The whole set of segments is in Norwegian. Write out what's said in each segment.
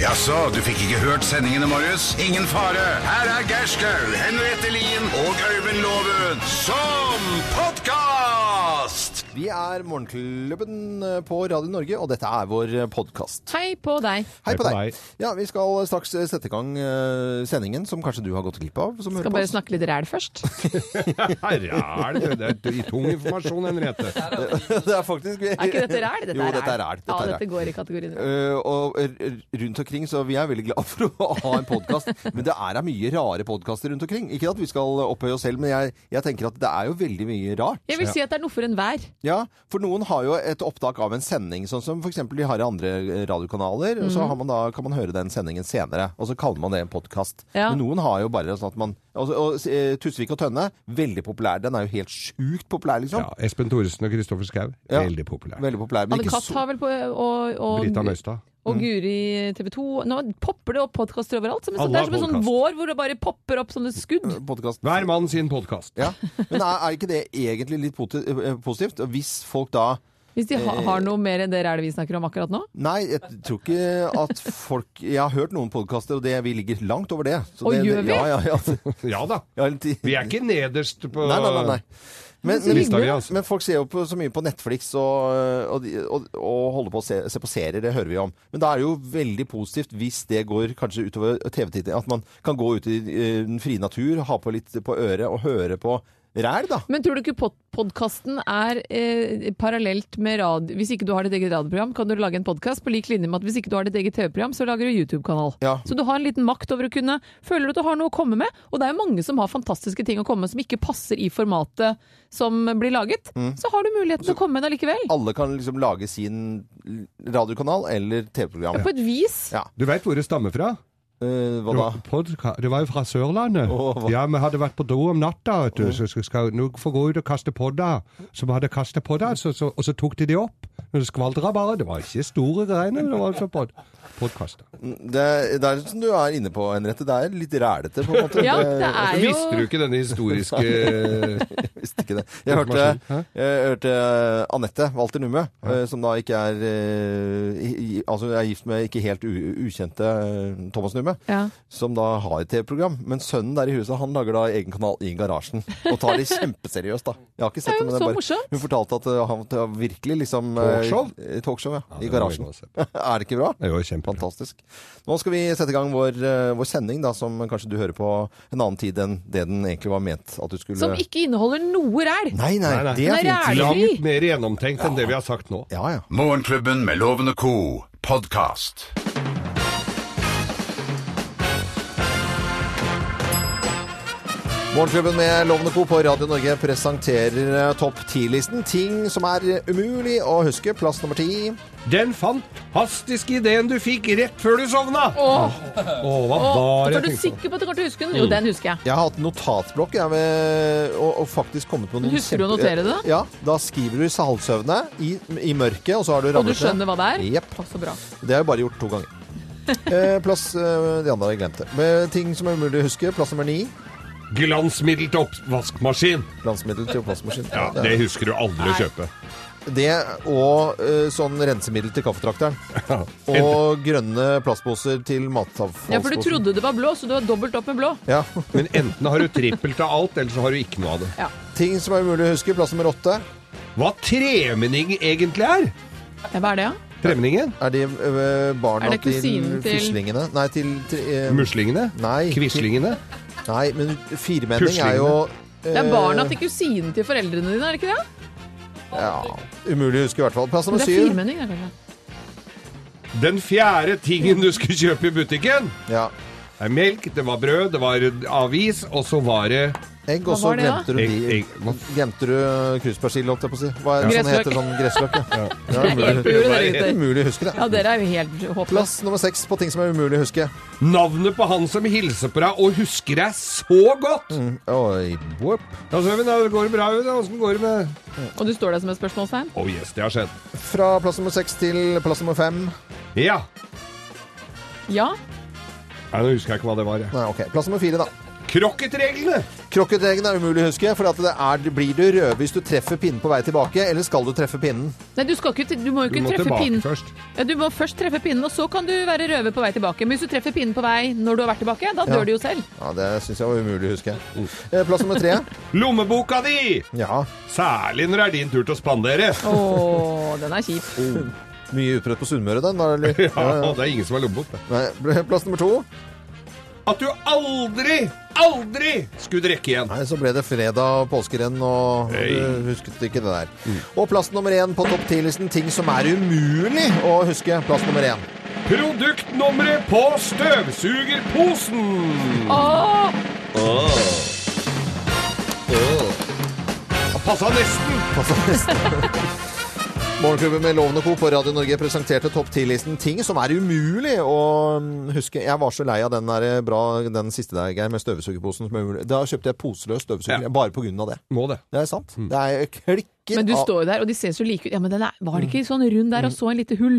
Jaså, du fikk ikke hørt sendingene, Marius? Ingen fare. Her er Gerskaug, Henriette Lien og Øyvind Låven som podkast! Vi er Morgenklubben eh, på Radio Norge, og dette er vår podkast. Hei på deg. Hei på på deg. deg. Ja, Vi skal straks sette i gang eh, sendingen som kanskje du har gått glipp av. Som Skal hører på bare oss. snakke litt ræl først. Ræl! Det er i tung informasjon, Henriette. det er faktisk Er ikke dette ræl? Dette Jo, er dette er ræl. Ja, Dette er ræl. dette går i kategorien ræl. Eh, og r- r- rundt omkring, så vi er veldig glad for å ha en podkast. Men det er da mye rare podkaster rundt omkring. Ikke at vi skal opphøye oss selv, men jeg, jeg tenker at det er jo veldig mye rart. Jeg vil si at det er noe for enhver. Ja, for noen har jo et opptak av en sending, sånn som f.eks. de har i andre eh, radiokanaler. og Så Mhm. har man da, kan man høre den sendingen senere, og så kaller man det en podkast. Ja. Men noen har jo bare sånn at man Og, og eh, Tusvik og Tønne, veldig populær. Den er jo helt sjukt populær, liksom. Ja, Espen Thoresen og Kristoffer Schau, Ja. veldig populær. Veldig populær, men Anne ikke Katt så har vel på Og, Brita og, Møystad. Mm. og Guri TV 2. Nå popper det opp podkaster overalt. Som en sånn, det Alle er har som en sånn podcast. vår hvor det bare popper opp sånne skudd. podkast. Hver mann sin podkast. Ja. Men er, er ikke det egentlig litt poti- eh, positivt? Hvis folk da Hvis de ha, har noe mer enn det rælet vi snakker om akkurat nå. Nei, jeg tror ikke at folk Jeg har hørt noen podkaster, og det, vi ligger langt over det. Så Og det, gjør vi? Ja, ja, ja. Ja da. Jeg har litt- Vi er ikke nederst på Nei, nei, nei. nei. Men, så men, lista vi, hyggelig, altså. men folk ser jo på, så mye på Netflix og, og, de- og, og holder på å se, se på serier, det hører vi om. Men da er det jo veldig positivt hvis det går kanskje utover TV-tiden. At man kan gå ut i eh, den frie natur, ha på litt på øret og høre på ræl, da. Men tror du ikke podkasten er eh, parallelt med radio... Hvis ikke du har ditt eget radioprogram, kan du lage en podkast på lik linje med at hvis ikke du har ditt eget TV-program, så lager du YouTube-kanal. Ja. Så du har en liten makt over å kunne Føler du at du har noe å komme med? Og det er jo mange som har fantastiske ting å komme med som ikke passer i formatet som blir laget. Mm. Så har du muligheten til å komme med det allikevel. Alle kan liksom lage sin radiokanal eller TV-program. På et vis. Ja. Du veit hvor det stammer fra? Eh, hva Det da? var, podka- det var jo fra Sørlandet. Åh, hva- ja, vi hadde vært på do om natta, vet du. Så skal- skal nå få gå ut og kaste podda. Så vi hadde kastet podda, så, så, og så tok de de opp. Men det skvaldra bare. Det var ikke store greiene. men Det var altså pod, podkasta. Det, det er som du er inne på, Henriette. Det er litt rælete, på en måte. Ja, Det- det er jo Visste du ikke denne historiske Jeg visste ikke det. Jeg hørte, Informasjon, jeg hørte eh, Anette Walter Numme, eh, som da ikke er eh, i, i- Altså er gift med ikke helt u, ukjente eh, Thomas Numme, Ja. som da har et TV-program. Men sønnen der i huset, han lager da egen kanal i garasjen. Og tar det kjempeseriøst, da. Jeg har ikke sett Det det, er jo men det så er bare, morsomt. hun fortalte at eh, han at han virkelig liksom eh, Talkshow? eh, Talkshow, ja. I det må jeg garasjen. gå og se er det ikke bra? Det var kjempebra. Fantastisk. Nå skal vi sette i gang vår, eh, vår sending, da, som kanskje du hører på en annen tid enn det den egentlig var ment at du skulle Som ikke inneholder noe ræl. Nei, nei, Nei, nei. det er Den er fint. ræl. Langt mer gjennomtenkt enn det vi har sagt nå. Ja, ja. Morgenklubben med Loven og co. podkast. Morgenklubben med Lovende Co på Radio Norge presenterer eh, topp 10-listen. Ting som er eh, umulig å huske. Plass nummer ti. Den fantastiske ideen du fikk rett før du sovna! Åh, Åh, hva åh, var er det du jeg tenkte på? sikker på at du kommer til å huske den? Jo, den husker jeg. Jeg har hatt notatblokk jeg, ved, og, og faktisk kommet på noen Husker du å notere det? Ja. Da skriver du halvsøvne i, i mørket, og så har du Og du ramlet skjønner hva det er? Jepp. Å, så bra. Det har jeg bare gjort to ganger. Eh, plass eh, De andre har jeg glemt det. Men Ting som er umulig å huske. Plass nummer ni. Glansmiddel til oppvaskmaskin. Glansmiddel til oppvaskmaskin. Ja, det, Det husker du aldri å kjøpe. det og eh, sånn rensemiddel til kaffetrakteren. Og grønne plastposer til matavfallsposen. Ja, for du trodde det var blå, så du har dobbelt opp med blå. Ja. Men enten har du trippelt av alt, eller så har du ikke noe av det. Ting som er umulig å huske. Plass nummer åtte. Hva tremenning egentlig er? Ja, hva er det, ja? Tremenningen? Er det øh, barna Er det til kusinen til- fislingene? Nei, til, til eh, Muslingene? Nei. Kvislingene? Nei, men firmenning er jo eh, Det Eh. er barna til kusinen til foreldrene dine, er det ikke det? ja, Umulig å huske i hvert fall. Plass Men nummer det er syv. firmenning, det, kanskje. Den fjerde tingen du skulle kjøpe i butikken? Ja. Det er melk, det var brød, det var avis, og så var det Egg, Hva og så var det, da? glemte du, Egg, de- egg, hva? glemte du kruspersille, holdt jeg på å si. Hva er det sånn Gressløk. heter sånn gressløk? Ja. Ja, Helt på umulig, jordet, dere gutter. umulig å huske det. Ja, dere er jo helt håpløse. Plass nummer seks på ting som er umulig å huske. navnet på han som hilser på deg og husker deg så godt. Mm. Oi, whoop. Ja, Søven, da går det bra ut? da? Åssen går det med Og du står der som et spørsmålstegn? Oh yes, det har skjedd. Fra plass nummer seks til plass nummer fem. Ja. Ja. Nei, nå husker jeg ikke hva det var. jeg. Nei, ok. Plass nummer fire, da. Krokketreglene! Krokketregelen er umulig å huske, for at det er, blir du rød hvis du treffer pinnen på vei tilbake, eller skal du treffe pinnen? Nei, du, skal ikke, du må jo Du ikke må treffe tilbake pinnen. først. Ja, du må først treffe pinnen, og så kan du være røver på vei tilbake. Men hvis du treffer pinnen på vei når du har vært tilbake, da dør du jo selv. Ja, det syns jeg var umulig å huske. Eh, Plass nummer tre. Lommeboka di! Ja, Særlig når det er din tur til å spandere. Å, den er kjip. mye utbredt på Sunnmøre, den. da, Eller? Ja, det er ingen som har lommebok. da. Nei, plass nummer to. At du aldri, aldri skulle drikke igjen. Nei, så ble det fredag og påskerenn, og Hei. du husket ikke det der. Og plass nummer én på topp 10-listen ting som er umulig å huske. Plass nummer én. Produktnummeret på støvsugerposen. Å, Passa nesten. Morgenklubben med Loven og Co. på Radio Norge presenterte topp 10-listen ting som er umulig å mm, huske. Jeg var så lei av den der eh, bra, den siste der, Geir, med støvsugerposen som er umulig. Da kjøpte jeg poseløs støvsuger Ja. bare på grunn av det. Må det. Det er sant. Det er jeg klikker men du av. står jo der, og de ser så like ut. Ja, men den er, var det ikke sånn rund der, og Mm. så en lite hull?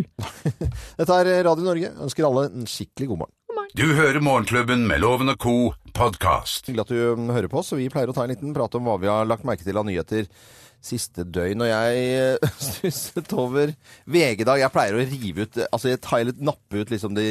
Dette er eh, Radio Norge. Ønsker alle en skikkelig god morgen. Du hører Morgenklubben med Loven og Co. podkast. Hyggelig at du mm, hører på oss, og vi pleier å ta en liten prat om hva vi har lagt merke til av nyheter siste døgn. Og jeg eh, stusset over VG-dag. Jeg pleier å rive ut eh, Altså, jeg tar litt nappe ut liksom de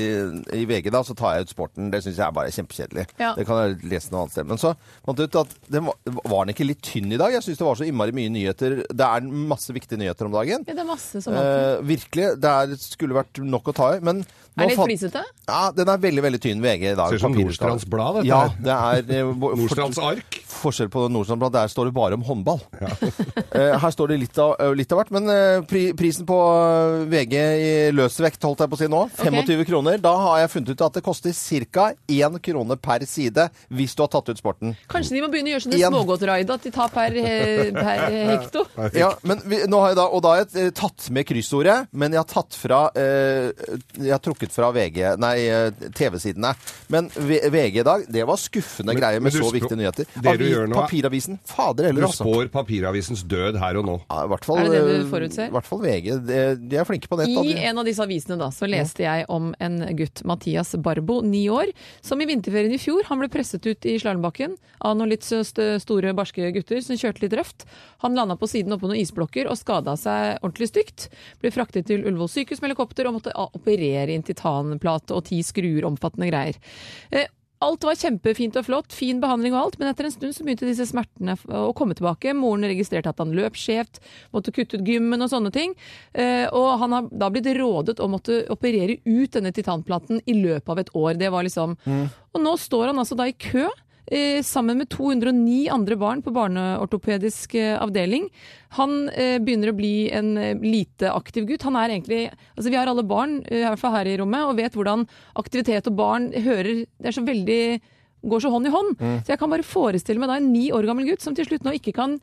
I VG, da, så tar jeg ut sporten. Det syns jeg er bare kjempekjedelig. Ja. Det kan jeg lese noe annet sted. Men så fant jeg ut at den var, var den ikke litt tynn i dag? Jeg syns det var så innmari mye nyheter. Det er masse viktige nyheter om dagen. Ja, det er masse som alltid. Eh, virkelig. Det er, skulle vært nok å ta i. Men nå Er det litt fant- flisete? Ja, den er veldig, veldig tynn, VG i dag. Ser ut som Papirutgave. Nordstrands Blad, dette Ja, her. det er eh, hvor- Nordstrands ark. forskjell på Nordstrand Blad, der står det bare om håndball. Eh, Her står det litt av, eh, litt av hvert, men eh, pri, prisen på eh, VG i løsvekt, holdt jeg på å si nå, 25 kroner. Da har jeg funnet ut at det koster ca. 1 krone per side hvis du har tatt ut sporten. Kanskje de må begynne å gjøre sånne Igjen. smågodtraider, at de tar per, eh, per eh, hekto? Ja, men vi, nå har jeg da, og da har jeg eh, tatt med kryssordet, men jeg har tatt fra eh, Jeg har trukket fra VG, nei, eh, TV-sidene. Men V- VG i dag, det var skuffende greier med men du så spå- viktige nyheter. det du gjør nå er- Papiravisen. Fader Du heller, altså. spår papiravisens død her og nå. Ja, i hvert fall, Er det det du eh, forutser? I hvert fall VG. Det- De er flinke på nett. da, I de. en av disse avisene da, så leste jeg om en gutt, Mathias Barbo, ni år, som i vinterferien i fjor han ble presset ut i slalåmbakken av noen litt så st- store, barske gutter som kjørte litt røft. Han landa på siden oppå noen isblokker og skada seg ordentlig stygt. Ble fraktet til Ullevål sykehus med helikopter og måtte a- operere inn titanplate og ti skruer, omfattende greier. Eh, Alt var kjempefint og flott, fin behandling og alt, men etter en stund så begynte disse smertene f- å komme tilbake. Moren registrerte at han løp skjevt, måtte kutte ut gymmen og sånne ting. Eh, Og han har da blitt rådet å måtte operere ut denne titanplaten i løpet av et år. Det var liksom Og nå står han altså da i kø. eh, Sammen med 209 andre barn på barneortopedisk eh, avdeling. Han eh, begynner å bli en eh, lite aktiv gutt. Han er egentlig Altså, vi har alle barn, eh, i hvert fall her i rommet, og vet hvordan aktivitet og barn hører Det er så veldig Går så hånd i hånd. Mm. Så jeg kan bare forestille meg da en ni år gammel gutt som til slutt nå ikke kan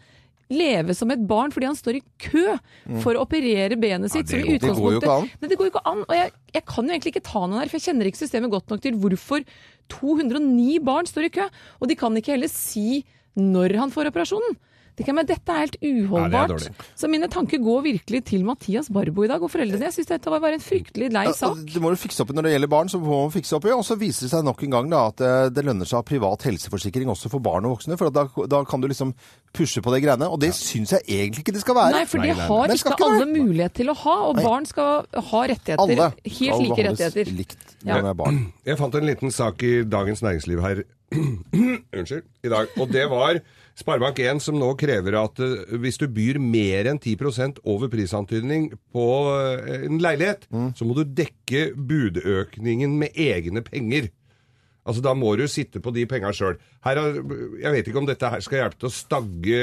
leve som et barn fordi han står i kø for å operere benet sitt. Mm. det går- det som i går jo utgangspunktet- ikke an. Nei, det går jo ikke an. Og jeg, jeg kan jo egentlig ikke ta noen her, for jeg kjenner ikke systemet godt nok til hvorfor 209 barn står i kø. Og de kan ikke heller si når han får operasjonen. Det kan, men dette er helt Nei, uholdbart. det er dårlig. så mine tanker går virkelig til Mathias Barbo i dag og foreldrene. Jeg syns dette var bare en fryktelig lei Ja, altså, sak. Det må du fikse opp i når det gjelder barn, så må man fikse opp i. Og så viser det seg nok en gang da, at eh, det lønner seg å ha privat helseforsikring også for barn og voksne. For da, da kan du liksom pushe på de greiene. Og det syns jeg egentlig ikke det skal være. Nei, for det nei, nei. har Det skal ikke ikke alle mulighet til å ha, og barn skal ha rettigheter. Alle Helt skal like behandles rettigheter. Likt Ja. når de er barn. Jeg fant en liten sak i Dagens Næringsliv her Unnskyld, i dag. Og det var Sparebank1 som nå krever at eh, hvis du byr mer enn 10 over prisantydning på eh, en leilighet, så må du dekke budøkningen med egne penger. Altså Da må du sitte på de penga sjøl. Jeg vet ikke om dette her skal hjelpe til å stagge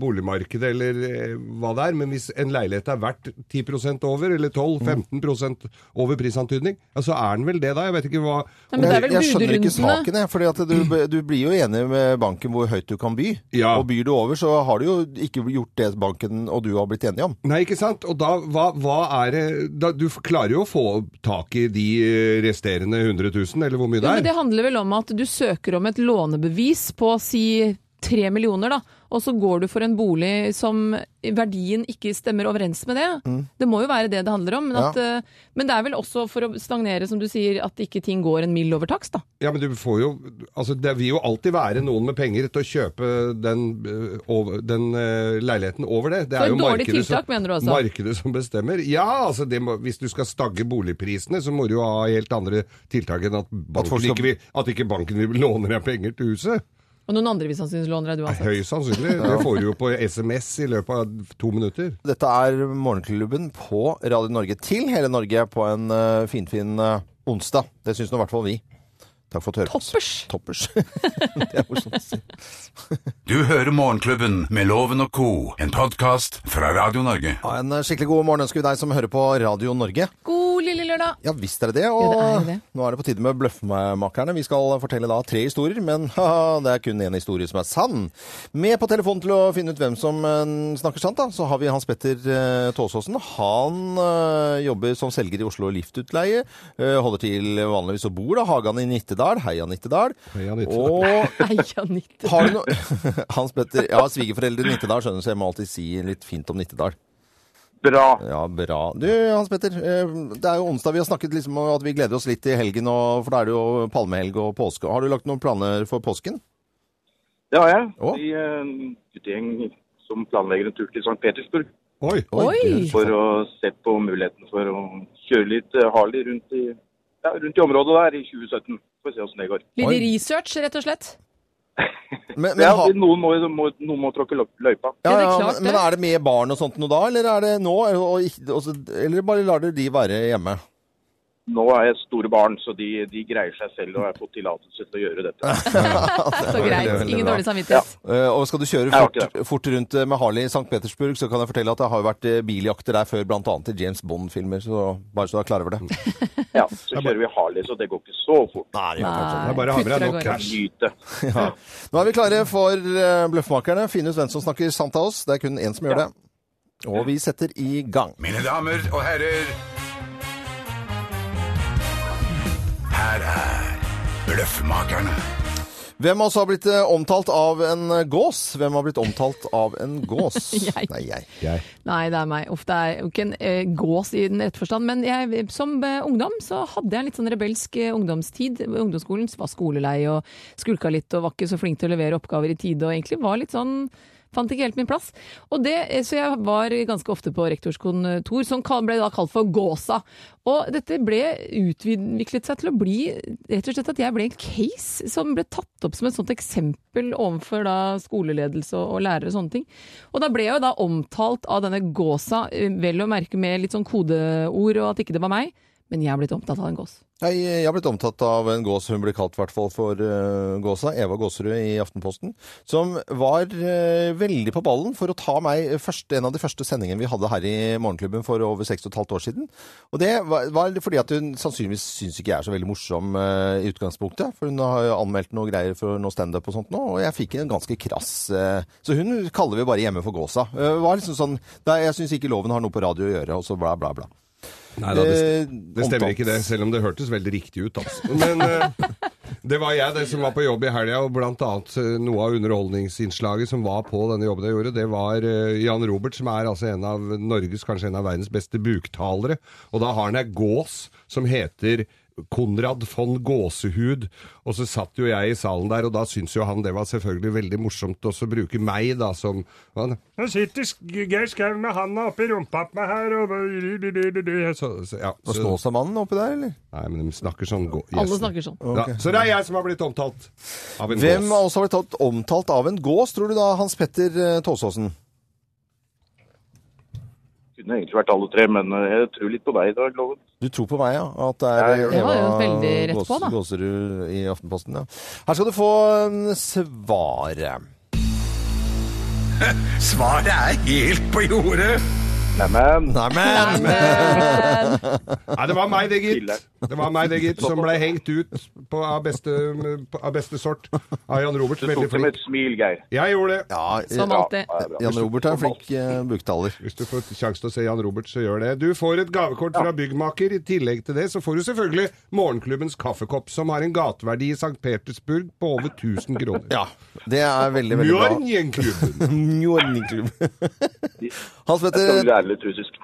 boligmarkedet eller eh, hva det er, men hvis en leilighet er verdt 10 over, eller 12-15 over prisantydning, ja, så er den vel det, da. Jeg vet ikke hva Nei, men det er vel jeg skjønner ikke budrundene. saken, jeg. For du, du blir jo enig med banken hvor høyt du kan by. Ja. Og byr du over, så har du jo ikke gjort det banken og du har blitt enige om. Nei, ikke sant? Og da, hva, hva er det da, Du f- klarer jo å få tak i de eh, resterende 100 000, eller hvor mye Jo, men det det er? handler vel om at du søker om et lånebevis på si tre millioner, da. og så går du for en bolig som verdien ikke stemmer overens med det. Det må jo være det det handler om. Men, Mm. Ja. at, eh, men det er vel også for å stagnere, som du sier, at ikke ting går en mil over takst, da. Ja, men du får jo Altså, det vil jo alltid være noen med penger til å kjøpe den, øh, over, den øh, leiligheten over det. Så Det et jo dårlig markedet tiltak, mener du altså? Markedet som bestemmer. Ja, altså det må, hvis du skal stagge boligprisene, så må du jo ha helt andre tiltak enn at, banken folk skal- ikke, vil, at ikke banken vil låne deg penger til huset. Og noen andre vil sannsynligvis låne deg du altså. uansett. Høyst sannsynlig. Det får du jo på SMS i løpet av to minutter. Dette er Morgenklubben på Radio Norge til hele Norge på en eh, finfin eh, onsdag. Det syns nå i hvert fall vi. Takk for at du hører på oss. Toppers! Toppers. det er morsomt å si. Du hører Morgenklubben med Loven og Co., en podkast fra Radio Norge. Ha en eh, skikkelig god morgen ønsker vi deg som hører på Radio Norge. God lille lørdag! Ja visst er det det. Ja, Og det er jo det. nå er det på tide med Bløffmakerne. Vi skal fortelle da tre historier, men haha, det er kun én historie som er sann. Med på telefonen til å finne ut hvem som eh, snakker sant, da, så har vi Hans Petter eh, Tåsåsen. Han eh, jobber som selger i Oslo Liftutleie. eh, holder til vanligvis og bor da, Hagan i Nittedal. Heia Nittedal. Heia Nittedal. Og Eia nitt. har du noe Hans Petter, jeg har svigerforeldre i Nittedal, skjønner du, så jeg må alltid si litt fint om Nittedal. Bra. Ja, bra. Du, Hans Petter. eh, Det er jo onsdag. Vi har snakket liksom om at vi gleder oss litt til helgen, og, for da er det jo palmehelg og påske. Har du lagt noen planer for påsken? Det har jeg. Å. Vi er en guttegjeng som planlegger en tur til St. Petersburg Oi! Oi! du- for å se på muligheten for å kjøre litt eh, Harley rundt i, ja, rundt i området der i 2017. Får se åssen det går. Litt Oi. research, rett og slett. Men, men, Ja, ha, noen, må, må, noen må tråkke løp- løypa. ja, Ja, det er ja, klart men, det. men er det med barn og sånt nå da, eller er det nå? Og, og, ikke- og, så- eller bare lar dere de være hjemme? Nå er jeg store barn, så de, de greier seg selv og har fått tillatelse til å gjøre dette. Så veldig, greit. veldig Ingen bra. dårlig samvittighet. Eh, og skal du kjøre har fort, ikke det. fort rundt eh, med Harley i St. Petersburg, så kan jeg fortelle at det har jo vært eh, biljakter der før, bl.a. til James Bond-filmer. så Bare så du er klar over det. Ja, så kjører vi Harley, så det går ikke så fort. Nei, det gjør kanskje Det er bare å ha med deg Kutter av nok gårde. cash. Nyte. Ja. Nå er vi klare for eh, Bløffmakerne. Finn ut hvem som snakker sant av oss. Det er kun én som gjør det. Og vi setter i gang. Mine damer og herrer Her er Bløffmakerne. Hvem av oss har blitt eh, omtalt av en eh, gås? Hvem har blitt omtalt av en gås? Jeg. Nei, jeg. Nei, det er meg. Uff, det er jo ikke en eh, gås i den rette forstand. Men jeg, som eh, ungdom så hadde jeg en litt sånn rebelsk eh, ungdomstid. Ungdomsskolen var skolelei og skulka litt og var ikke så flink til å levere oppgaver i tide. Og egentlig var litt sånn Fant ikke helt min plass. Og det, eh, så jeg var ganske ofte på rektorskontor, som kal- ble da kalt for Gåsa. Og dette ble utviklet seg til å bli rett og slett at jeg ble en case som ble tatt opp som et sånt eksempel overfor da skoleledelse og, og lærere og sånne ting. Og da ble jeg jo da omtalt av denne gåsa, eh, vel å merke med litt sånn kodeord og at ikke det var meg, men jeg er blitt omtalt av en gås. Nei, jeg har blitt omtalt av en gås hun ble kalt i hvert fall for eh, gåsa, Eva Gåserud i Aftenposten, som var eh, veldig på ballen for å ta meg først, en av de første sendingene vi hadde her i Morgenklubben for over seks og et halvt år siden. Og det var, var fordi at hun sannsynligvis syns ikke jeg er så veldig morsom eh, i utgangspunktet, for hun har jo anmeldt noe greier for noe standup og sånt nå, og jeg fikk en ganske krass eh, Så hun kaller vi bare hjemme for gåsa. Eh, var liksom sånn Nei, jeg syns ikke loven har noe på radio å gjøre, og så bla, bla, bla. Nei da, det, Eh, det stemmer omtalt. ikke det, selv om det hørtes veldig riktig ut. Altså. Men eh, det var jeg det som var på jobb i helga, og blant annet eh, noe av underholdningsinnslaget som var på denne jobben jeg gjorde, det var eh, Jan Robert, som er altså en av Norges, kanskje en av verdens beste buktalere. Og da har han ei gås som heter Konrad von Gåsehud, og så satt jo jeg i salen der, og da syntes jo han det var selvfølgelig veldig morsomt også å bruke meg da som han, Nå sitter Sk- Geir Skau med handa oppi rumpa på meg her og så, så, ja, Og så, Snåsamannen oppi der, eller? Nei, men de snakker sånn gå- Alle gjestene. snakker sånn. Ja, så det er jeg som har blitt omtalt av en Hvem har gås. også blitt tatt- omtalt av en gås, tror du da, Hans Petter eh, Tåsåsen? Kunne egentlig vært alle tre, men eh, jeg tror litt på deg i dag, Loven. Du tror på meg, ja? At det er Ja, ja. eh, Det var jo Eva veldig rett Gås- på, da. Gåserud i Aftenposten, ja. Her skal du få eh, svaret. Svaret er helt på jordet. Neimen, Neimen! Nei, det var meg det, gitt. Killer. Det var meg det, gitt, som ble hengt ut på, av, beste, på, av beste sort av Jan Robert. du Veldig tok det med flink. et smil, Geir. Jeg gjorde det. Ja, eh, Som alltid. Ja, det er bra. Jan Robert er en flink eh, buktaler. Hvis du får sjanse til å se Jan Robert, så gjør det. Du får et gavekort fra byggmaker. I tillegg til det så får du selvfølgelig Morgenklubbens kaffekopp, som har en gateverdi i St. Petersburg på over 1000 kroner. Ja, det er veldig, veldig bra. Mjørnjenklubben. Mjornklubb. Hans Jeg skal Petter, lære litt russisk.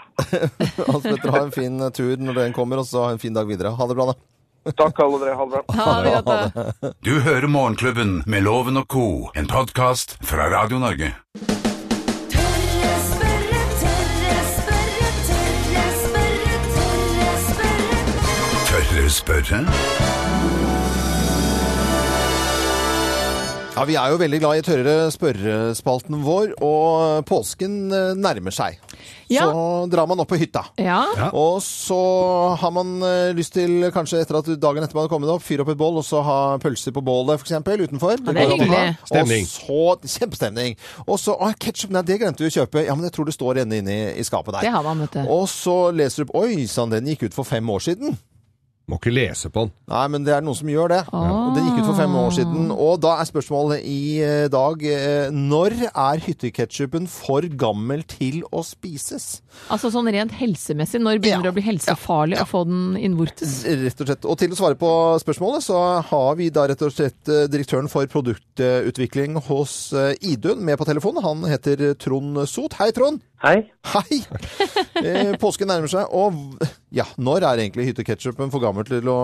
Hans Petter, ha en fin eh, tur når den kommer, og så ha en fin dag videre. Ha det bra, da. Takk, alle dere. Ha det bra. Ha det godt, da. Du hører Morgenklubben med Loven og Co., en podkast fra Radio Norge. Tørre spørre, tørre spørre, tørre spørre, tørre spørre. Tørre spørre? Ja, Vi er jo veldig glad i tørre spørrespalten vår, og påsken eh, nærmer seg. Ja. Så drar man opp på hytta. Ja. Og så har man eh, lyst til, kanskje etter at dagen etter man har kommet opp, fyre opp et bål og så ha pølser på bålet f.eks. utenfor. Ja, det er går an å hyggelig. ha. Stemning. Og så, kjempestemning. Og så Å, ketsjup, nei, det glemte vi å kjøpe. Ja, men jeg tror det står ennå inne i, i skapet der. Det har man, vet du. Og så leser du opp Oi sann, den gikk ut for fem år siden. Må ikke lese på den. Nei, men det er noen som gjør det. Og Den gikk ut for fem år siden. Og da er spørsmålet i eh, dag eh, Når er hytteketsjupen for gammel til å spises? Altså sånn rent helsemessig, når begynner det Ja. å bli helsefarlig å få den innvortes? Rett og slett. Og til å svare på spørsmålet, så har vi da rett og slett eh, direktøren for produktutvikling hos eh, Idun med på telefonen. Han heter Trond Sot. Hei, Trond! Hei. Hei! Eh, Påsken nærmer seg, og ja, når er egentlig hytteketsjupen for gammel til å,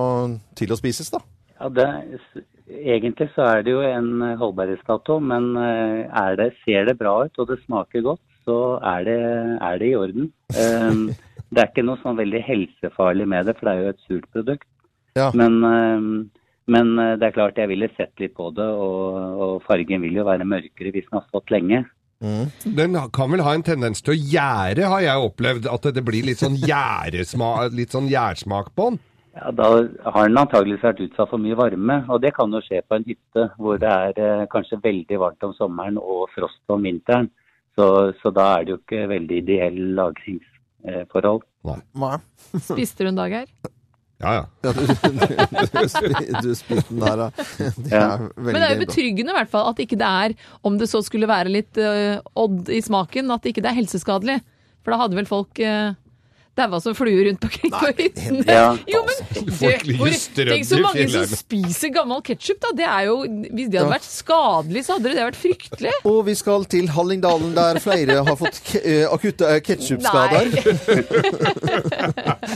til å spises, da? Ja, det, egentlig så er det jo en eh, holdbarhetsdato, men eh, er det, ser det bra ut og det smaker godt, så er det, er det i orden. Um, Det er ikke noe sånn veldig helsefarlig med det, for det er jo et surt produkt. Ja. Men, um, men eh, det er klart jeg ville sett litt på det, og, og fargen vil jo være mørkere hvis den har stått lenge. Den kan vel ha en tendens til å gjære, har jeg opplevd. At det blir litt sånn gjæresma- litt sånn gjærsmak på den. Ja, da har den antageligvis vært utsatt for mye varme, og det kan jo skje på en hytte hvor det er eh, kanskje veldig varmt om sommeren og frost om vinteren. Så, så da er det jo ikke veldig ideell lagringsforhold. Hva? Spiste du en dag her? Ja, ja. Ja, du, du, du, spi- du spiste den der, da. Det Ja. er veldig Men det er jo bra. betryggende i hvert fall at ikke det er, om det så skulle være litt eh, odd i smaken, at ikke det er helseskadelig. For da hadde vel folk uh, daua som fluer rundt omkring på hyttene. Ja. Jo, men Folk ligger hvor- strødd Tenk så i mange som fjellheimen. spiser gammel ketsjup, da. Det er jo, hvis det hadde vært skadelig, så hadde det vært fryktelig. Og vi skal til Hallingdalen, der flere har fått ke eh, akutte eh, ketsjupskader.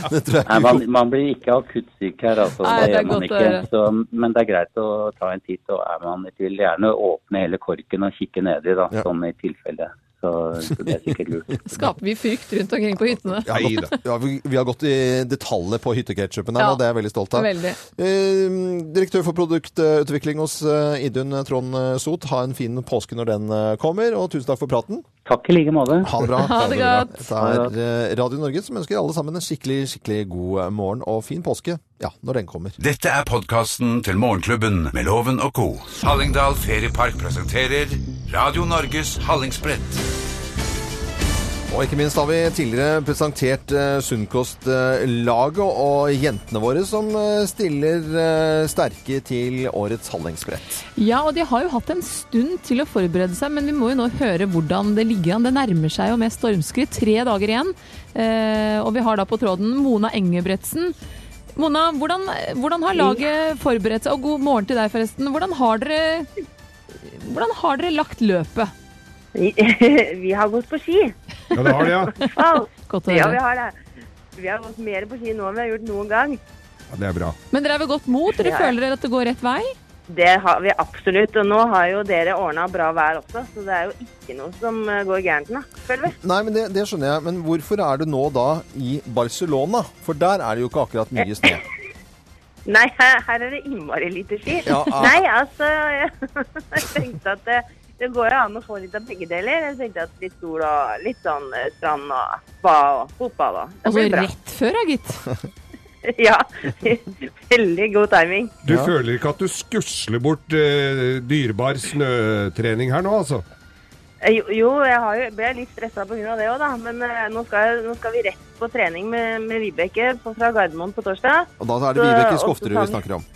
Det tror jeg Nei, ikke man, man blir ikke akutt syk her, altså. Nei, det det er gjør man godt å ikke. høre. Så, men det er greit å ta en titt, og er man i tvil, gjerne åpne hele korken og kikke nedi, da, Ja. sånn i tilfelle. Så, så det er sikkert lurt. Skaper vi frykt rundt omkring på hyttene? Ja, Nei godt- ja, vi, vi har gått i detaljer på hytteketsjupen her, Ja. og det er jeg veldig stolt av. Veldig. Eh, direktør for produktutvikling hos eh, Idun, eh, Trond eh, Sot. Ha en fin påske når den eh, kommer, og tusen takk for praten. Takk i like måte. Ha det bra. Ha det godt. Dette er eh, Radio Norge som ønsker alle sammen en skikkelig, skikkelig god eh, morgen og fin påske, ja, når den kommer. Dette er podkasten til Morgenklubben med Loven og Co. Hallingdal Feriepark presenterer Radio Norges Hallingsbrett. Og ikke minst har vi tidligere presentert eh, Sunnkostlaget og jentene våre som eh, stiller eh, sterke til årets hallingsbrett. Ja, og de har jo hatt en stund til å forberede seg, men vi må jo nå høre hvordan det ligger an. Det nærmer seg jo med stormskritt. Tre dager igjen. Eh, og vi har da på tråden Mona Engebretsen. Mona, hvordan, hvordan har laget forberedt seg? Og god morgen til deg, forresten. Hvordan har dere, hvordan har dere lagt løpet? Vi, vi har gått på ski. Ja, det har det, ja. Wow. Godt å Ja, vi høre. har det. Vi har gått mer på ski nå enn vi har gjort noen gang. ja. Det er bra. Men dere er ved godt mot? Dere Ja, ja. føler dere at det går rett vei? Det har vi absolutt. Og nå har jo dere ordna bra vær også, så det er jo ikke noe som eh, går gærent, da. Føler vi. Nei, men det, det skjønner jeg. Men hvorfor er det nå da i Barcelona? For der er det jo ikke akkurat mye snø. Nei, her, her er det innmari lite ski. Ja, ah, ja. Nei, altså Jeg tenkte at det, det går jo an å få litt av begge deler. Jeg tenkte at litt sol og litt sånn eh, strand og spa og fotball og Det Altså blir bra. rett før, ja, gitt. Ja. Veldig god timing. Du føler ikke at du skusler bort eh, dyrebar snøtrening her nå, altså? Eh, Jo, jo jeg har jo, ble litt stressa pga. det òg, da. Men eh, nå skal, jeg, nå skal vi rett på trening med, med Vibeke på, fra Gardermoen på torsdag. Og da er det Så- Vibeke og Skofterud Susanne- vi snakker om.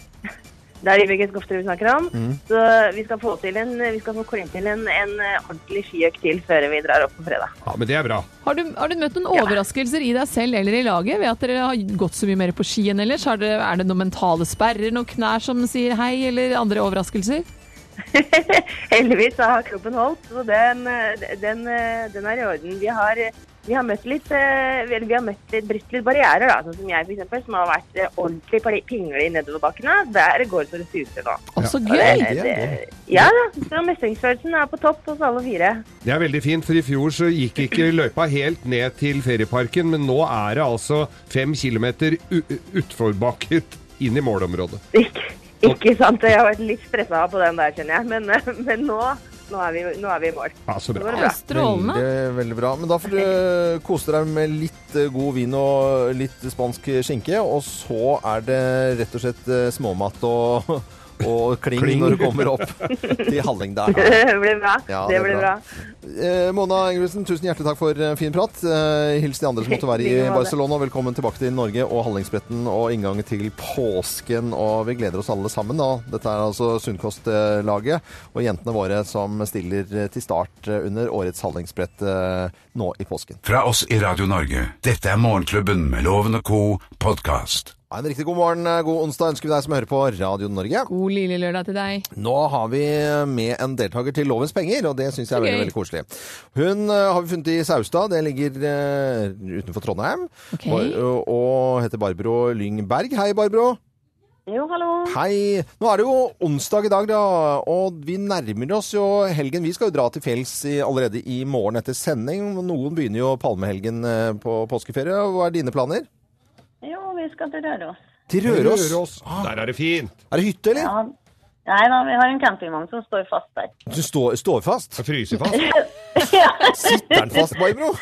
Det er Vibeke Skofterud vi snakker om. Mm. Så vi skal få til en, vi skal få klemt til en, en eh, ordentlig skiøkt til før vi drar opp på fredag. Ja, men det er bra. Har du, har du møtt noen overraskelser i deg selv eller i laget ved at dere har gått så mye mer på ski enn ellers? Har dere, er det noen mentale sperrer, noen knær som sier hei, eller andre overraskelser? eh, Heldigvis så har kroppen holdt, så den, eh, den, eh, den er i orden. Vi har, eh, vi har møtt litt, eh, vel, vi har møtt litt, brutt litt barrierer, da, sånn som jeg for eksempel, som har vært eh, ordentlig pli- pingle i nedoverbakkene. Der går det så det suser nå. Å, så Og gøy! det- det- Ja da, så mestringsfølelsen er på topp hos alle fire. Det er veldig fint, for i fjor så gikk ikke løypa helt ned til ferieparken, men nå er det altså fem kilometer u- utforbakket inn i målområdet. Ikke sant? Jeg har vært litt stressa på den der, skjønner jeg. Men, eh, men nå, nå, er vi, nå er vi i mål. Ja, så bra. Veldig, veldig bra. Men da får du eh, kose deg med litt eh, god vin og litt spansk eh, skinke, og så er det rett og slett eh, småmat og, og kling, Kling. når du kommer opp til Halling der. Det blir bra. Ja, det blir bra. Eh, Mona Engelsen, tusen hjertelig takk for eh, fin prat. Eh, hils de andre som måtte være i Like måte. Barcelona. og Velkommen tilbake til Norge og Hallingsbretten og inngang til påsken. Og vi gleder oss alle sammen. Da. Dette er altså Sundkostlaget og jentene våre som stiller eh, til start eh, under årets Hallingsbrett eh, nå i påsken. Fra oss i Radio Norge, dette er Morgenklubben med Loven og Co. podkast. Ha en riktig god morgen, eh, god onsdag ønsker vi deg som hører på Radio Norge. God lille lørdag til deg. Nå har vi med en deltaker til Lovens penger, og det syns jeg er Så veldig, gøy. veldig koselig. Hun eh, har vi funnet i Saustad, det ligger eh, utenfor Trondheim. Ok. Og, og, og heter Barbro Lyngberg. Hei, Barbro. Jo, hallo. Hei. Nå er det jo onsdag i dag, da, og vi nærmer oss jo helgen. Vi skal jo dra til fjells i, allerede i morgen etter sending. Noen begynner jo palmehelgen eh, på påskeferie. Hva er dine planer? Jo, vi skal til Røros. Til Røros. Der er det fint. Er det hytte, eller? Ja. Nei da, vi har en campingvogn som står fast der. Du står, står fast? Jeg fryser fast. Sitter den fast, Barbro?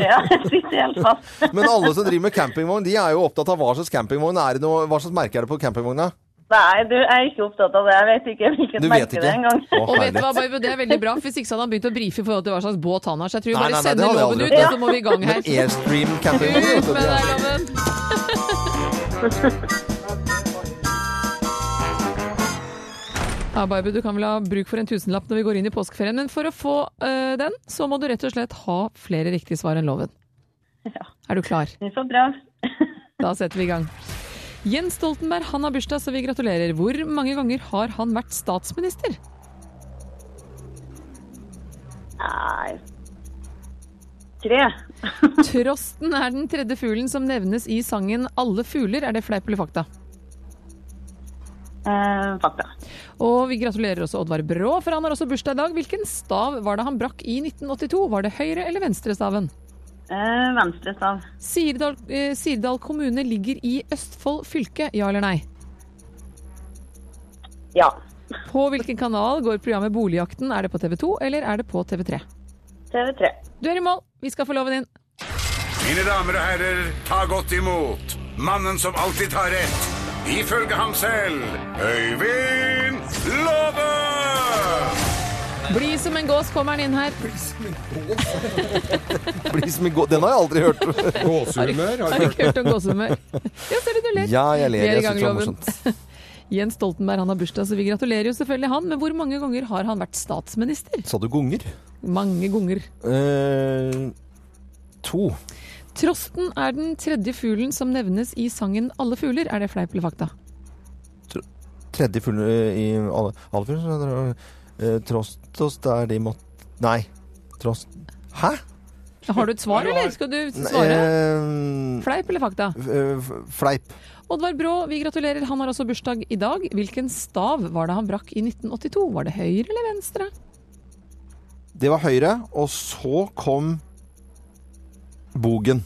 Ja, jeg sitter helt fast. Men alle som driver med campingvogn, de er jo opptatt av hva slags campingvogn er det noe, hva slags merke er det på campingvogna? Nei, du jeg er ikke opptatt av det. Jeg vet ikke hvilket Du vet merke det ikke. er engang. Å, Og vet du herlig. hva, Barbro, det er veldig bra, for hvis ikke så hadde han begynt å brife i forhold til hva slags båt han har. Så jeg tror vi Nei, bare nei, nei, det sender hadde jeg loven aldri ut, og gjort. så må vi i gang her. Men Airstream campingvogn Ut vet med du, deg, loven! Ja, Barbro, du kan vel ha bruk for en tusenlapp når vi går inn i påskeferien, men for å få eh, den, så må du rett og slett ha flere riktige svar enn loven. Er du klar? Vi får prøve. Da setter vi i gang. Jens Stoltenberg han har bursdag, så vi gratulerer. Hvor mange ganger har han vært statsminister? Nei Tre. Trosten er den tredje fuglen som nevnes i sangen 'Alle fugler'. Er det fleip eller fakta? Eh, fakta. Og vi gratulerer også Oddvar Brå, for han har også bursdag i dag. Hvilken stav var det han brakk i 1982? Var det høyre- eller venstrestaven? Eh, venstre stav. Sirdal, eh, Sirdal kommune ligger i Østfold fylke, ja eller nei? Ja. På hvilken kanal går programmet Boligjakten? Er det på TV 2, eller er det på TV 3? TV3. Du er i mål, vi skal få loven inn. Mine damer og herrer, ta godt imot mannen som alltid tar rett, ifølge ham selv, Øyvind Låve! Bli som en gås, kommer han inn her. Bli som en gå- Den har jeg aldri hørt. Gåsehumør har Har jeg du hørt. ikke hørt om gåsehumør? Ja, ser du, du ler. Ja, jeg Vi ler. er i Jeg gang, syns det var Loven. morsomt. Jens Stoltenberg han har bursdag, så vi gratulerer jo selvfølgelig han. Men hvor mange ganger har han vært statsminister? Sa du gonger? Mange ganger. Eh, to. Trosten er den tredje fuglen som nevnes i sangen 'Alle fugler'. Er det fleip eller fakta? Tredje full eh, i alle alle full, så er det, eh, Trostos der de måtte Nei. Trost... Hæ? Har du et svar, eller? Skal du svare? Eh, Fleip eller fakta? f- eh, fleip. Oddvar Brå, vi gratulerer. Han har også bursdag i dag. Hvilken stav var det han brakk i 1982? Var det høyre eller venstre? Det var høyre, og så kom bogen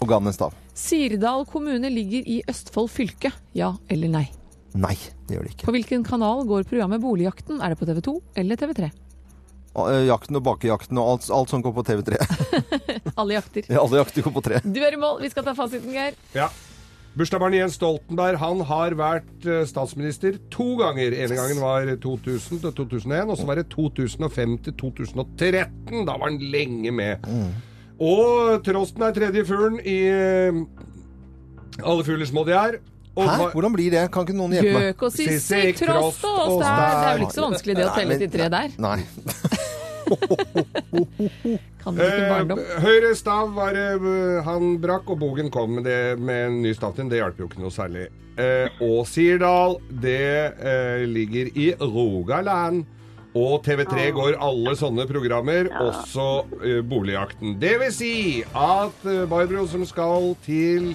og ga den en stav. Sirdal kommune ligger i Østfold fylke. Ja eller nei? Nei, det gjør det ikke. På hvilken kanal går programmet Boligjakten? Er det på TV 2 eller TV 3? Og, eh, Jakten og bakejakten og alt, alt som går på TV3. Alle jakter. Alle jakter går på tre. Du er i mål. Vi skal ta fasiten, Geir. Ja. Bursdagsbarnet Jens Stoltenberg han har vært eh, statsminister to ganger. En gangen var 2000 til 2001, og så var det 2005 til 2013. Da var han lenge med. Og Trosten er tredje fuglen i eh, Alle fugler små de er. Og Hæ? hva- Hvordan blir det? Kan ikke noen hjelpe meg? Gøk og Sissi, Trost og Ås. Det er det er vel ikke så vanskelig det å telle til tre der. Nei. Kan dere ikke barndom? Eh, høyre stav var eh, han brakk, og Bogen kom med, det, med en ny stav til. den. Det hjalp jo ikke noe særlig. Eh, og Sirdal, det eh, ligger i Rogaland. Og TV3 Ah. går alle sånne programmer, også eh, Boligjakten. Det vil si at eh, Barbro, som skal til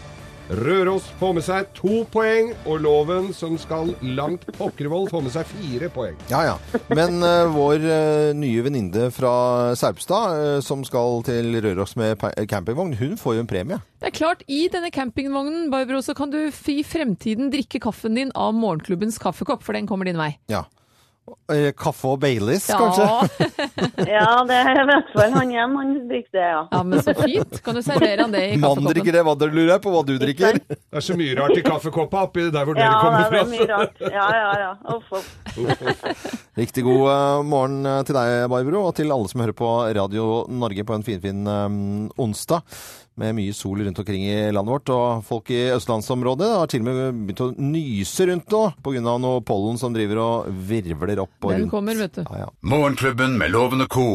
Røros, får med seg to poeng, og Loven, som skal langt Pokkervoll, får med seg fire poeng. Ja, ja. Men eh, vår eh, nye venninne fra Saupstad, eh, som skal til Røros med pa- campingvogn, hun får jo en premie. Det er klart, i denne campingvognen, Barbro, så kan du f- i fremtiden drikke kaffen din av morgenklubbens kaffekopp, for den kommer din vei. Ja. Eh, Kaffe og Baileys, Ja. kanskje? Ja, det er i hvert fall han igjen. Han drikker det, ja. Ja, men så fint. Kan du servere han det i Mannen kaffekoppen? drikker det, hva dere lurer jeg på hva du drikker? Det er så mye rart i kaffekoppa oppi der hvor dere Ja, det kommer er fra. mye rart. Ja, ja, ja. Uff, uff. Riktig god eh, morgen eh, til deg, Barbro, og til alle som hører på Radio Norge på en finfin um, onsdag. Med mye sol rundt omkring i landet vårt, og folk i østlandsområdet har til og med begynt å nyse rundt nå pga. noe pollen som driver og virvler opp og Den rundt. kommer, vet du. Ja, ja. Morgenklubben med Loven og co.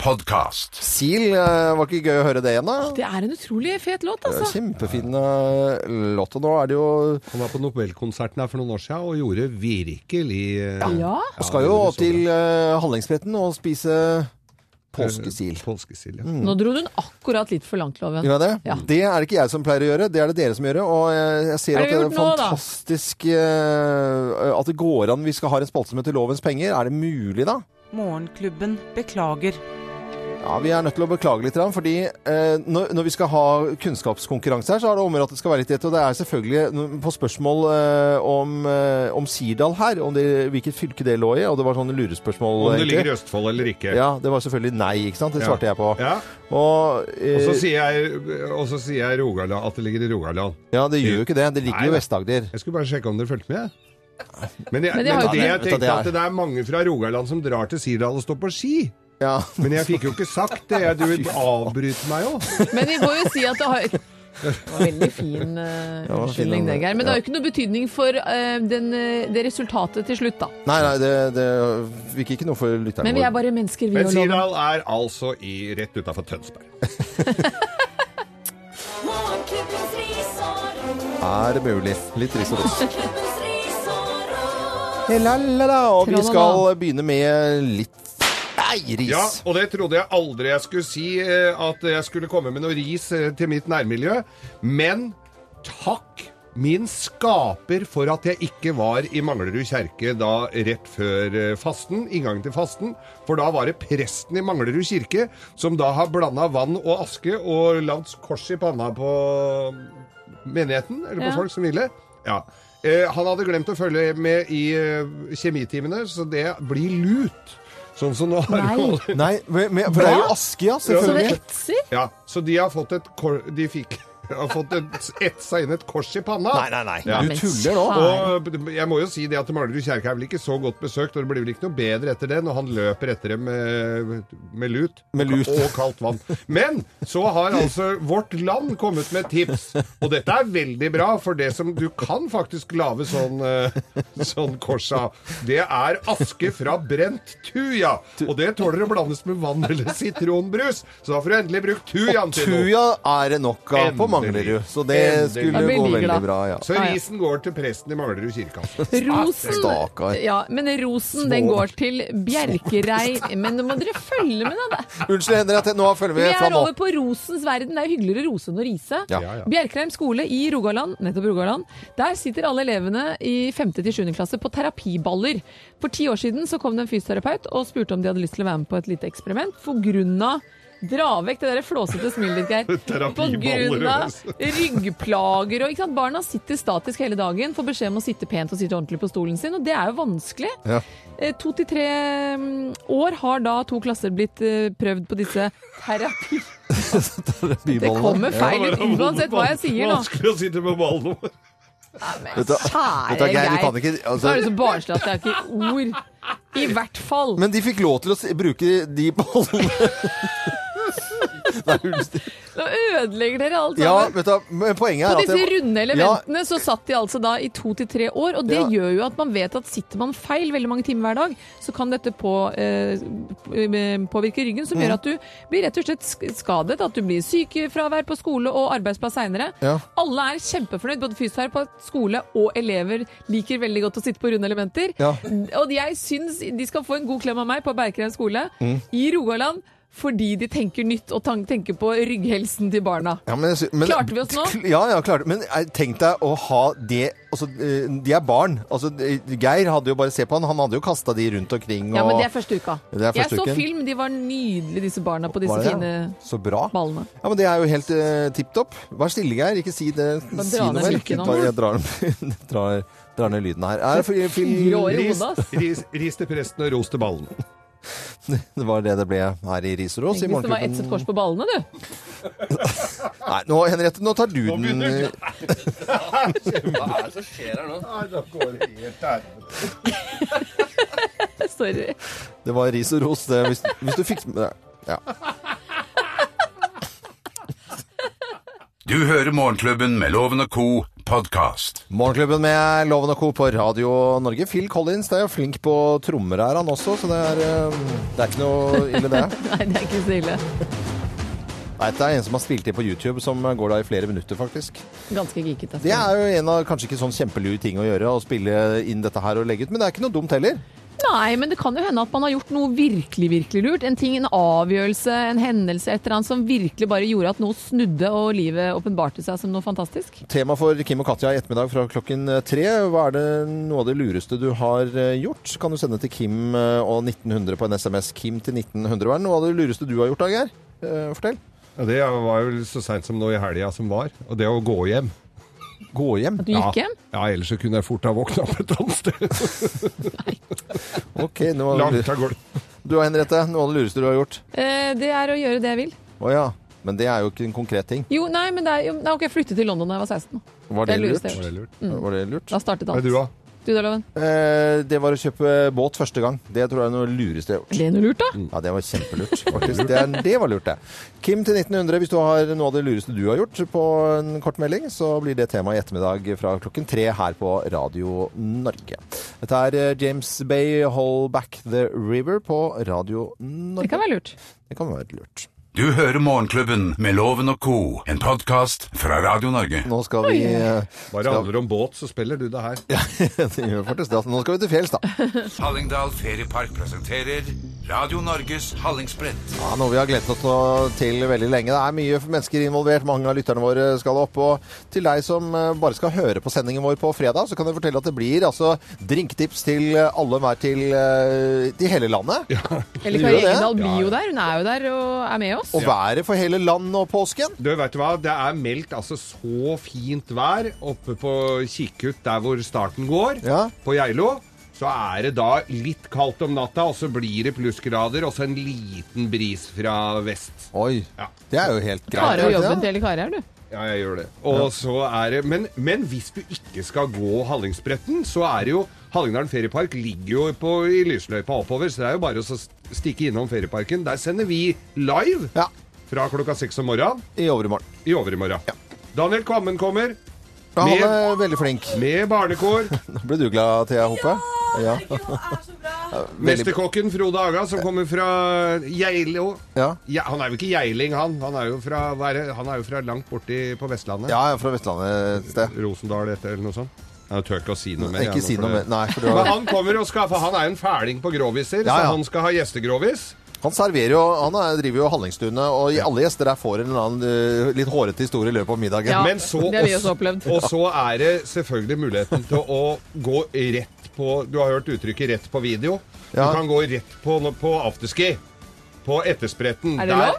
podkast. Sil, eh, var ikke gøy å høre det igjen, da? Det er en utrolig fet låt, Det er jo altså. Kjempefin eh, låt. Og nå er det jo Han var på Nobelkonserten her for noen år siden og gjorde virkelig eh, Ja. Skal jo det så til bra. eh, Hallingsbretten og spise påskesil. Påskesil, Eh, ja. Mm, Nå dro du den akkurat litt for langt, Loven. Gjør jeg det? Ja. Det er det ikke jeg som pleier å gjøre, det er det dere som gjør. det, Og jeg, jeg ser Hva at har det du er gjort nå, da? fantastisk eh, At det går an. Vi skal ha en spalte som heter Lovens penger. Er det mulig, da? Morgenklubben beklager. Ja, Vi er nødt til å beklage litt, grann, fordi eh, når, når vi skal ha kunnskapskonkurranse her, så er det området at det skal være litt rett. Og det er selvfølgelig n- på spørsmål eh, om, eh, om Sirdal her, om det, hvilket fylke det lå i. Og det var sånne lurespørsmål. Om det egentlig. ligger i Østfold eller ikke. Ja, det var selvfølgelig nei, ikke sant? Det Ja. svarte jeg på. Ja. Og, eh, Og så sier jeg, og så sier jeg Rogaland, at det ligger i Rogaland. ja, det gjør jo ikke det. Det Nei, ligger jo i da. Vest-Agder. Jeg skulle bare sjekke om dere fulgte med. jeg. Men, jeg, Men men, de har jo det ikke- jeg Vet du, tenkte det er- at det er mange fra Rogaland som drar til Sirdal og står på ski. Ja. Men jeg fikk jo ikke sagt det. Jeg, du vil avbryte meg jo. Men vi må jo si at det har det var veldig fin var eh, fin, den unnskyldning, det, der. Geir. Men det Ja. har jo ikke noe betydning for eh, den, eh, det resultatet til slutt, da. Nei, nei, det, det fikk ikke noe for lytterne Men vi er våre. bare mennesker, vi Men og Loven. Sirdal er altså i, rett utafor Tønsberg. Morgenklubbens ris og ros. Er det mulig? Litt trist og ros. Morgenklubbens ris og ros. La, la, la, Og vi Tralala. skal begynne med litt Nei, ris! Ja, og det trodde jeg aldri jeg skulle si, eh, at jeg skulle komme med noe ris eh, til mitt nærmiljø. Men takk min skaper for at jeg ikke var i Manglerud kjerke da rett før eh, fasten, inngangen til fasten. For da var det presten i Manglerud kirke som da har blanda vann og aske og lagd kors i panna på mm, menigheten, eller på Ja. folk som ville. Ja. Eh, han hadde glemt å følge med i eh, kjemitimene, så det blir lut. Sånn som nå har Nei. jo- Nei, men, men, for det er jo Hva? aske, ja. Så det Selvfølgelig. etser? Ja, så de har fått et kor... De fikk har fått et, etsa inn et kors i panna. Nei, nei, nei. Ja. Du tuller nå. Og jeg må jo si det at Manglerud kjerke er vel ikke så godt besøkt, og det blir vel ikke noe bedre etter det når han løper etter dem med, med lut. Med lut. Og kaldt vann. Men så har altså Vårt Land kommet med tips, og dette er veldig bra, for det som du kan faktisk lage sånn, eh, sånn kors av, det er aske fra brent tuja. Og det tåler å blandes med vann eller sitronbrus, så da får du endelig brukt tujaen til noe. Tuja er det nok av på Endelig. Manglerud, så det Endelig. skulle Da blir gå vi veldig glad. bra. Ja. Så Ja, ja. risen går til presten i Manglerud kirke. altså. Rosen, Stakkar. ja, men rosen den går til Bjerkereim. Men nå må dere følge med, da. Det- Unnskyld, Henriette, nå følger Vi vi fra er nå. over på rosens verden. Det er jo hyggeligere å rose enn å rise. Ja. Ja, ja. Bjerkreim skole i Rogaland, nettopp Rogaland, der sitter alle elevene i 5. til 7. klasse på terapiballer. For ti år siden så kom det en fysioterapeut og spurte om de hadde lyst til å være med på et lite eksperiment. For grunn av Dra vekk det der flåsete smilet ditt, Geir. På Terapiballer, grunn av altså. ryggplager og ikke sant? Barna sitter statisk hele dagen, får beskjed om å sitte pent og sitte ordentlig på stolen sin, og det er jo vanskelig. Ja. Eh, To til tre mm, år har da to klasser blitt eh, prøvd på disse terapi... Det Bybollene. kommer feil ut uansett hva jeg sier nå. Vanskelig å sitte på ballen nå. Vet du- vet du hva, Geir, du kan ikke- altså- Nå er det så barnslig at det er ikke ord. I hvert fall. Men de fikk lov til å s- bruke de bollene. Nei, unnskyld. Nå ødelegger dere alt ja, sammen. vet du, hva, men poenget er På at disse jeg- runde Ja, elementene så satt de altså da i to til tre år, og det Ja. gjør jo at man vet at sitter man feil veldig mange timer hver dag, så kan dette på, eh, påvirke ryggen, som Mhm. gjør at du blir rett og slett sk- skadet, at du blir sykefravær på skole og arbeidsplass seinere. Ja. Alle er kjempefornøyd, både fysioterapeut, skole og elever liker veldig godt å sitte på runde elementer. Ja. Og jeg syns de skal få en god klem av meg på Berkerheim skole Mhm. i Rogaland. Fordi de tenker nytt og tan- tenker på rygghelsen til barna. Ja, men jeg sy- men- Klarte vi oss nå? Ja, ja, klarte Men eh, tenk deg å ha det altså, eh, De er barn. Altså, eh, Geir hadde jo bare Se på han, han hadde jo kasta de rundt omkring. Og, Ja, men det er første uka. Det er første jeg uken. så film, de var nydelige disse barna på Var disse det det? fine Så bra. ballene. Ja, men Det er jo helt uh, tipp topp. Vær stille, Geir. Ikke si det. Bare Si dra noe ned mer. lykken nå. Bare jeg drar, drar, drar ned lyden her. Er, det film- Fire år i Ris, hodet, ass. ris, ris til presten og ros til ballen. Det var det det ble her i Ris og Ros. i Tenk hvis det var Morgenklubben. etset kors på ballene, du. Nei, nå, Henriette, nå tar du den. begynner eh, Hva er det som skjer her nå? Da går det helt Sorry. Det var ris og ros. Det, hvis, hvis du fikk med deg ja. Du hører Morgenklubben med Loven og Co. podkast. Morgenklubben med Loven og Co. på Radio Norge. Phil Collins det er jo flink på trommer, er han også, så det er, eh, det er ikke noe ille, det. Nei, det er ikke så ille. Nei, det er en som har spilt inn på YouTube som går da i flere minutter, faktisk. Ganske geekete. Det er jo en av kanskje ikke sånn kjempelur ting å gjøre, å spille inn dette her og legge ut, men det er ikke noe dumt heller. Nei, men det kan jo hende at man har gjort noe virkelig, virkelig lurt. En ting, en avgjørelse, en hendelse, et eller annet som virkelig bare gjorde at noe snudde og livet åpenbarte seg som noe fantastisk. Tema for Kim og Katja i ettermiddag fra klokken eh, tre. Hva er det noe av det lureste du har eh, gjort? Kan du sende til Kim eh, og 1900 på en SMS. Kim til 1900. Hva er noe av det lureste du har gjort, da, Geir? Eh, Fortell. Ja, det var jo så seint som nå i helga som var. Og det å gå hjem. Gå hjem? At du gikk hjem? Ja, ja, ellers så kunne jeg fort ha våkna opp et annet sted. Ok, noe av det Langt av gårde. Du og Henriette, noe av det lureste du har gjort? Eh, Det er å gjøre det jeg vil. Å ja. Men det er jo ikke en konkret ting. Jo, nei, men det er jo Nei, OK, jeg flyttet til London da jeg var 16. Var det, Det er lurt? lureste jeg har Mm. Ja, Var det lurt? Da startet alt. Men du, da? Du da, Loven? Eh, det var å kjøpe båt første gang. Det tror jeg er noe lureste jeg har gjort. Ble det noe lurt, da? Ja, det var kjempelurt. faktisk. Det, er, det var lurt, det. Kim til 1900, hvis du har noe av det lureste du har gjort på en kort melding, så blir det tema i ettermiddag fra klokken tre her på Radio Norge. Dette er eh, James Bay, 'Hold Back The River' på Radio Norge. Det kan være lurt. Det kan være lurt. Du hører Morgenklubben med Loven og Co., en podkast fra Radio Norge. Nå skal vi eh, Bare det skal- handler om båt, så spiller du det her. Det gjør faktisk det. altså. Nå skal vi til fjells, da. Hallingdal Feriepark presenterer Radio Norges Hallingsbrett. Ja, noe vi har gledet oss nå til veldig lenge. Det er mye mennesker involvert. Mange av lytterne våre skal opp. Og til deg som eh, bare skal høre på sendingen vår på fredag, så kan jeg fortelle at det blir altså drinktips til eh, alle hver til, eh, til hele landet. Eller Gjør det? Kari Engedal blir jo der. Hun er jo der og er med oss. Og været for hele landet og påsken. Du, vet du hva? Det er meldt altså så fint vær oppe på Kikkut, der hvor starten går, på Geilo. Så er det da litt kaldt om natta, og så blir det plussgrader, og så en liten bris fra vest. Oi, det er jo helt Klarer er jo jobben det ikke det? til hele Kari her, du. Ja, jeg gjør det. Og så er det, men, men hvis du ikke skal gå Hallingsbretten, så er det jo Hallingdalen feriepark ligger jo på, i lysløypa oppover, så det er jo bare å så stikke innom ferieparken. Der sender vi live fra klokka seks om morgenen. I overmorgen. I overmorgen. Daniel Kvammen kommer. Ja, han er veldig flink. Med barnekår. Nå ble du glad, Thea Hoppe. Ja! Veldig bra. Mesterkokken Frode Haga, som kommer fra Geilo. Ja. Ja, han er jo ikke geiling, han. Han er jo fra, hva er det? han er jo fra langt borti på Vestlandet. Ja, jeg er fra Vestlandet et sted. Rosendal etter, eller noe sånt. Jeg tør ikke å si noe mer. Ikke jeg, nå, si for noe det- mer. Nei, for du har- Men han kommer og skal, for han er en fæling på groviser, Ja, ja. så han skal ha gjestegrovis. Han serverer jo, han er, driver jo Hallingstuene, og i- alle gjester der får en eller annen eh, litt hårete historie i løpet av middagen. Men så det har vi også også- opplevd. Og så er det selvfølgelig muligheten til å gå rett på Du har hørt uttrykket 'rett på video'. Ja. Du kan gå rett på, på afterski. På etterspretten. Er det Der- lov?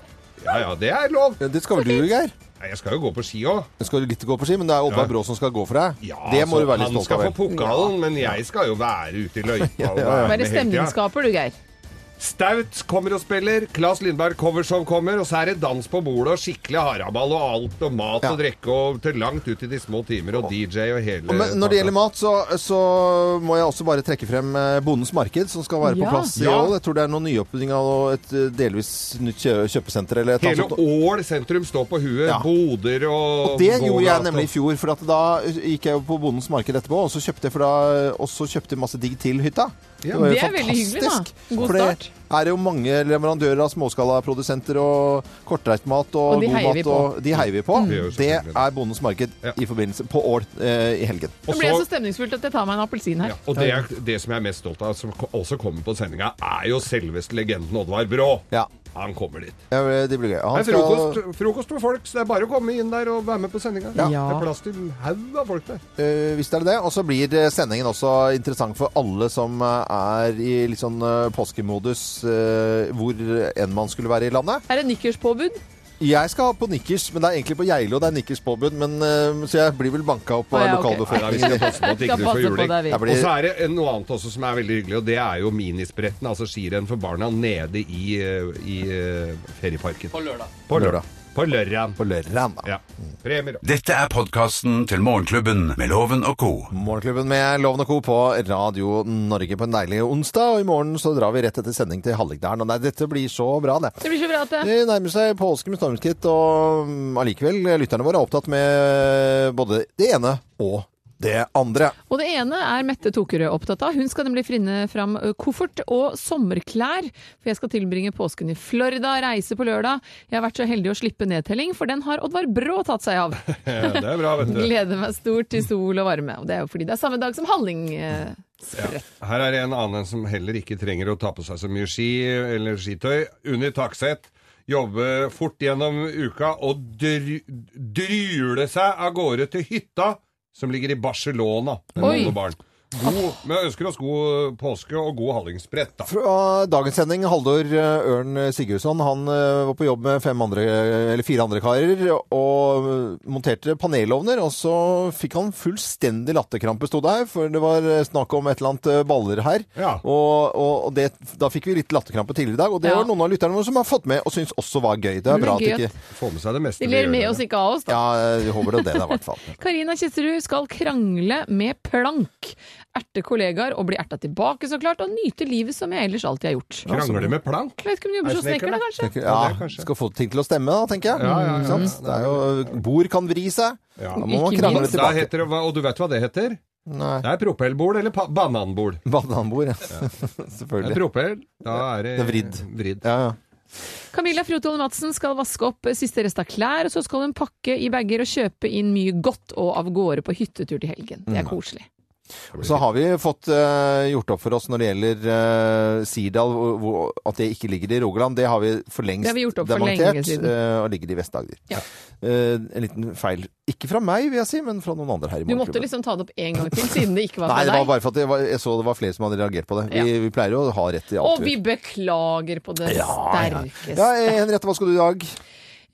Ja, ja, det er lov. eh, det skal vel du, Geir? Nei, jeg skal jo gå på ski òg. Du skal litt gå på ski, men det er Oddvar Ja. Brå som skal gå for deg. Ja, det må altså, du være litt stolt av. Han skal få pokalen, men jeg skal jo være ute i løypa. og Ja, ja, ja. være med Være hele tida. stemningsskaper, du, Geir. Staut kommer og spiller, Claes Lindberg Coverson kommer, og så er det dans på bordet og skikkelig haraball og alt og mat og drikke og til langt ut i de små timer og DJ og hele Men når det gjelder mat, så, så må jeg også bare trekke frem eh, Bondens marked, som skal være Ja. på plass i Ja. Ål. Jeg tror det er noen nyåpning av noe- et eh, delvis nytt kjø kjøpesenter eller et eller altså, Hele annet sånt. Ål sentrum står på huet. Boder og altså- Og det gjorde jeg gågater. nemlig i fjor, for at da gikk jeg jo på Bondens marked etterpå, og så kjøpte jeg, for da, og så kjøpte jeg masse digg til hytta. Ja. var jo Det er veldig hyggelig, da. fantastisk, God for start. Det er jo mange leverandører av småskalaprodusenter og kortreistmat og, Og de god heier vi mat, på. og de heier vi på. Mm. Det gjør Det er Bondens marked i forbindelse på Ål eh, i helgen. Nå ble jeg så stemningsfullt at jeg tar meg en appelsin her. Og det, er, det som jeg er mest stolt av, som ko- også kommer på sendinga, er jo selveste legenden Oddvar Brå. Han kommer dit. Ja, det blir gøy. Han Det er skal- frokost, frokost for folk, så det er bare å komme inn der og være med på sendinga. Ja. Det er plass til en haug av folk der. Eh, hvis det er det. Og så blir eh, sendingen også interessant for alle som eh, er i litt sånn eh, påskemodus eh, hvor enn man skulle være i landet. Er det nikkerspåbud? Jeg skal på nikkers, men det er egentlig på Geilo det er nikkerspåbud. Men, eh, så jeg blir vel banka opp Ah, av ja, ok. Nei, vi lokalbefolkningen. skal passe på at ikke du får juling. Jeg Og blir- så er det en- noe annet også som er veldig hyggelig, og det er jo minispretten, altså skirenn for barna nede i, eh, i eh, ferieparken. På lørdag. På lørdag. På lørdag. Ja. Premier og Dette er podkasten til Morgenklubben med Loven og co. Morgenklubben med Loven og Co. på Radio Norge på en deilig onsdag. Og i morgen så drar vi rett etter sending til Hallingdalen. Og nei, dette blir så bra, det. Det blir så bra at det Det nærmer seg påske med stormskritt, og mm, allikevel, lytterne våre er opptatt med både det ene og det andre. Og det ene er Mette Tokerød opptatt av. Hun skal nemlig finne fram ø, koffert og sommerklær. For jeg skal tilbringe påsken i Florida, reise på lørdag. Jeg har vært så heldig å slippe nedtelling, for den har Oddvar Brå tatt seg av. Ja, det er bra, vet du. Gleder meg stort til sol og varme. Og det er jo fordi det er samme dag som Halling. ø, Her er det en annen som heller ikke trenger å ta på seg så mye ski eller skitøy. Unni Takseth jobbe fort gjennom uka og dru- drule seg av gårde til hytta som ligger i Barcelona. med Oi. alle barn. God, men jeg ønsker oss god påske og god hallingsbrett, da. Fra dagens sending, Haldor eh, Ørn Sigurdsson, han eh, var på jobb med fem andre, eller fire andre karer og eh, monterte panelovner, og så fikk han fullstendig latterkrampe, sto det her, for det var eh, snakk om et eller annet eh, baller her. Og, og, og det, da fikk vi litt latterkrampe tidligere i dag, og det Ja. var noen av lytterne våre som har fått med og syns også var gøy. Det Men er bra at gøy de at- ikke Får med seg det meste. De ler med oss, ikke av oss, da. Ja, jeg håper det er det, da, i hvert fall. Karina Kjesterud skal krangle med plank. Erte kollegaer og bli erta tilbake, så klart. Og nyte livet som jeg ellers alltid har gjort. Krangle med plank? Jeg vet ikke om du jobber Er som snekker, da, kanskje? Tenker- Ja, skal få ting til å stemme, da, tenker jeg. Ja, ja, ja. Ikke sant? Det er jo, bord kan vri seg. Da må man Ikke krangle minst. Da tilbake. heter det, hva- og du vet hva det heter? Det er propellbord eller pa- bananbord. Bananbord, ja. Selvfølgelig. Det er propell. Da er det, Det er vridd. Ja, ja. Camilla Frotholm Madsen skal vaske opp siste rest av klær, og så skal hun pakke i bager og kjøpe inn mye godt og av gårde på hyttetur til helgen. Det er Mm. koselig. Så har vi fått eh, gjort opp for oss når det gjelder eh, Sirdal, hvor, hvor, at det ikke ligger i Rogaland. Det har vi for lengst Det har vi gjort opp for dementert, lenge siden. eh, og ligger i Vest-Agder. Ja. Eh, en liten feil. Ikke fra meg, vil jeg si, men fra noen andre her i Du måtte liksom ta det opp en gang til, siden det ikke var Nei, det fra var deg. bare for at jeg, var, jeg så det var flere som hadde reagert på det. Vi, vi pleier jo å ha rett i alt. Og vi beklager på det sterkeste. Ja, eh, Henriette, hva skal du i dag?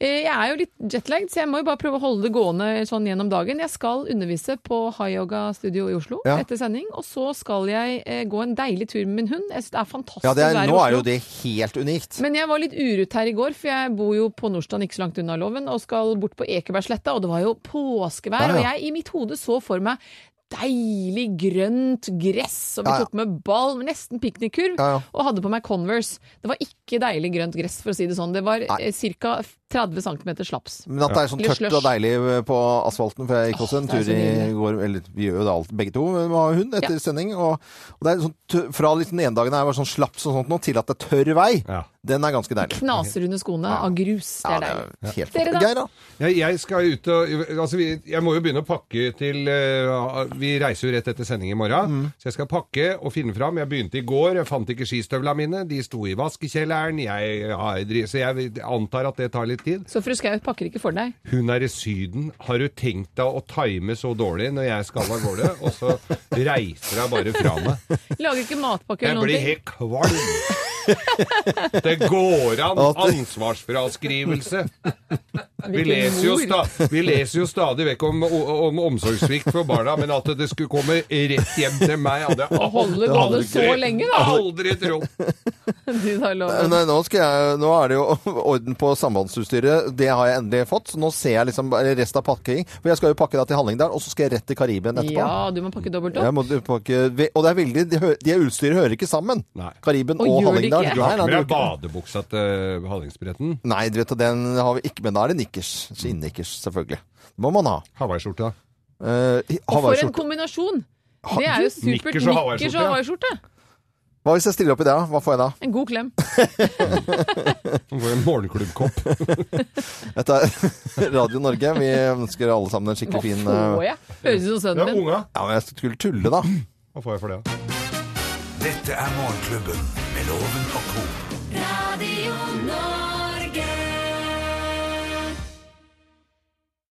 Eh, Jeg er jo litt jetlagd, så jeg må jo bare prøve å holde det gående sånn gjennom dagen. Jeg skal undervise på High Yoga Studio i Oslo Ja. etter sending. Og så skal jeg eh, gå en deilig tur med min hund. Jeg synes det er fantastisk Ja, det er, å være i nå Oslo. er jo det helt unikt. Men jeg var litt urut her i går, for jeg bor jo på Nordstrand, ikke så langt unna loven, og skal bort på Ekebergsletta, og det var jo Ja, påskevær. ja. Og jeg i mitt hode så for meg deilig grønt gress, og vi Ja, ja. tok med ball, nesten piknikkurv, Ja, ja. og hadde på meg Converse. Det var ikke deilig grønt gress, for å si det sånn. Det var ca. 30 cm slaps. Men at det er sånn Eller tørt og slush. deilig på asfalten, for jeg gikk også en det er tur så i nydelig. går Eller vi gjør jo det alt, begge to, men vi har hund etter Ja. sending. Og, og det er sånn tø fra litt den ene dagen her var sånn slaps og sånt nå, til at det er tørr vei, den er ganske deilig. Knaser under skoene av grus. Det er deilig. Helt Dere da? Geir, da? Jeg, jeg skal ut og Altså, vi, jeg må jo begynne å pakke til eh, Vi reiser jo rett etter sending i morgen, så jeg skal pakke og finne fram. Jeg begynte i går, jeg fant ikke skistøvla mine. De sto i vaskekjelleren. Jeg, har dri- så jeg antar at det tar litt tid. Så fru Skau pakker ikke for deg. Hun er i Syden. Har du tenkt deg å time så dårlig når jeg skal av gårde? Og så reiser hun bare fra meg. Lager ikke matpakke Jeg eller blir noe. helt kvalm. Det går an At det- ansvarsfraskrivelse. Vi Hvilken leser, jo mor. sta vi leser jo stadig vekk om, om omsorgssvikt for barna, men at det skulle komme rett hjem til meg hadde jeg Holde gående så lenge, da. aldri trodd. Du tar loven. Eh, Nei, nå, skal jeg, nå er det jo orden på sambandsutstyret. Det har jeg endelig fått. Så nå ser jeg liksom bare resten av pakking. For jeg skal jo pakke da til Hallingdal, og så skal jeg rett til Karibien etterpå. Ja, du må pakke dobbelt Jeg opp. må pakke, ve- og det er veldig, de, hø- de utstyret hører ikke sammen. Kariben Og og, gjør det Hallingdal. ikke? Du har Nei, ikke med nei, deg badebuksa til Hallingsbretten? Nei, du vet, den har vi ikke, men da er det nikkers. Mm. Skinnnikkers, selvfølgelig. Det må man ha. Hawaiiskjorte, da? Eh, Og for en Hawaiiskjorte. kombinasjon! Det er jo supert. Nikkers og Nikkers og hawaiiskjorte. Hva hvis jeg stiller opp i det? da? Hva får jeg da? En god klem. Du får en morgenklubbkopp. Dette er Radio Norge. Vi ønsker alle sammen en skikkelig fin Hva eh, får jeg? Høres ut som sønnen min. Ja, men jeg skulle tulle, da. Hva får jeg for det? da? Dette er Morgenklubben med Loven og co. Radio Norge.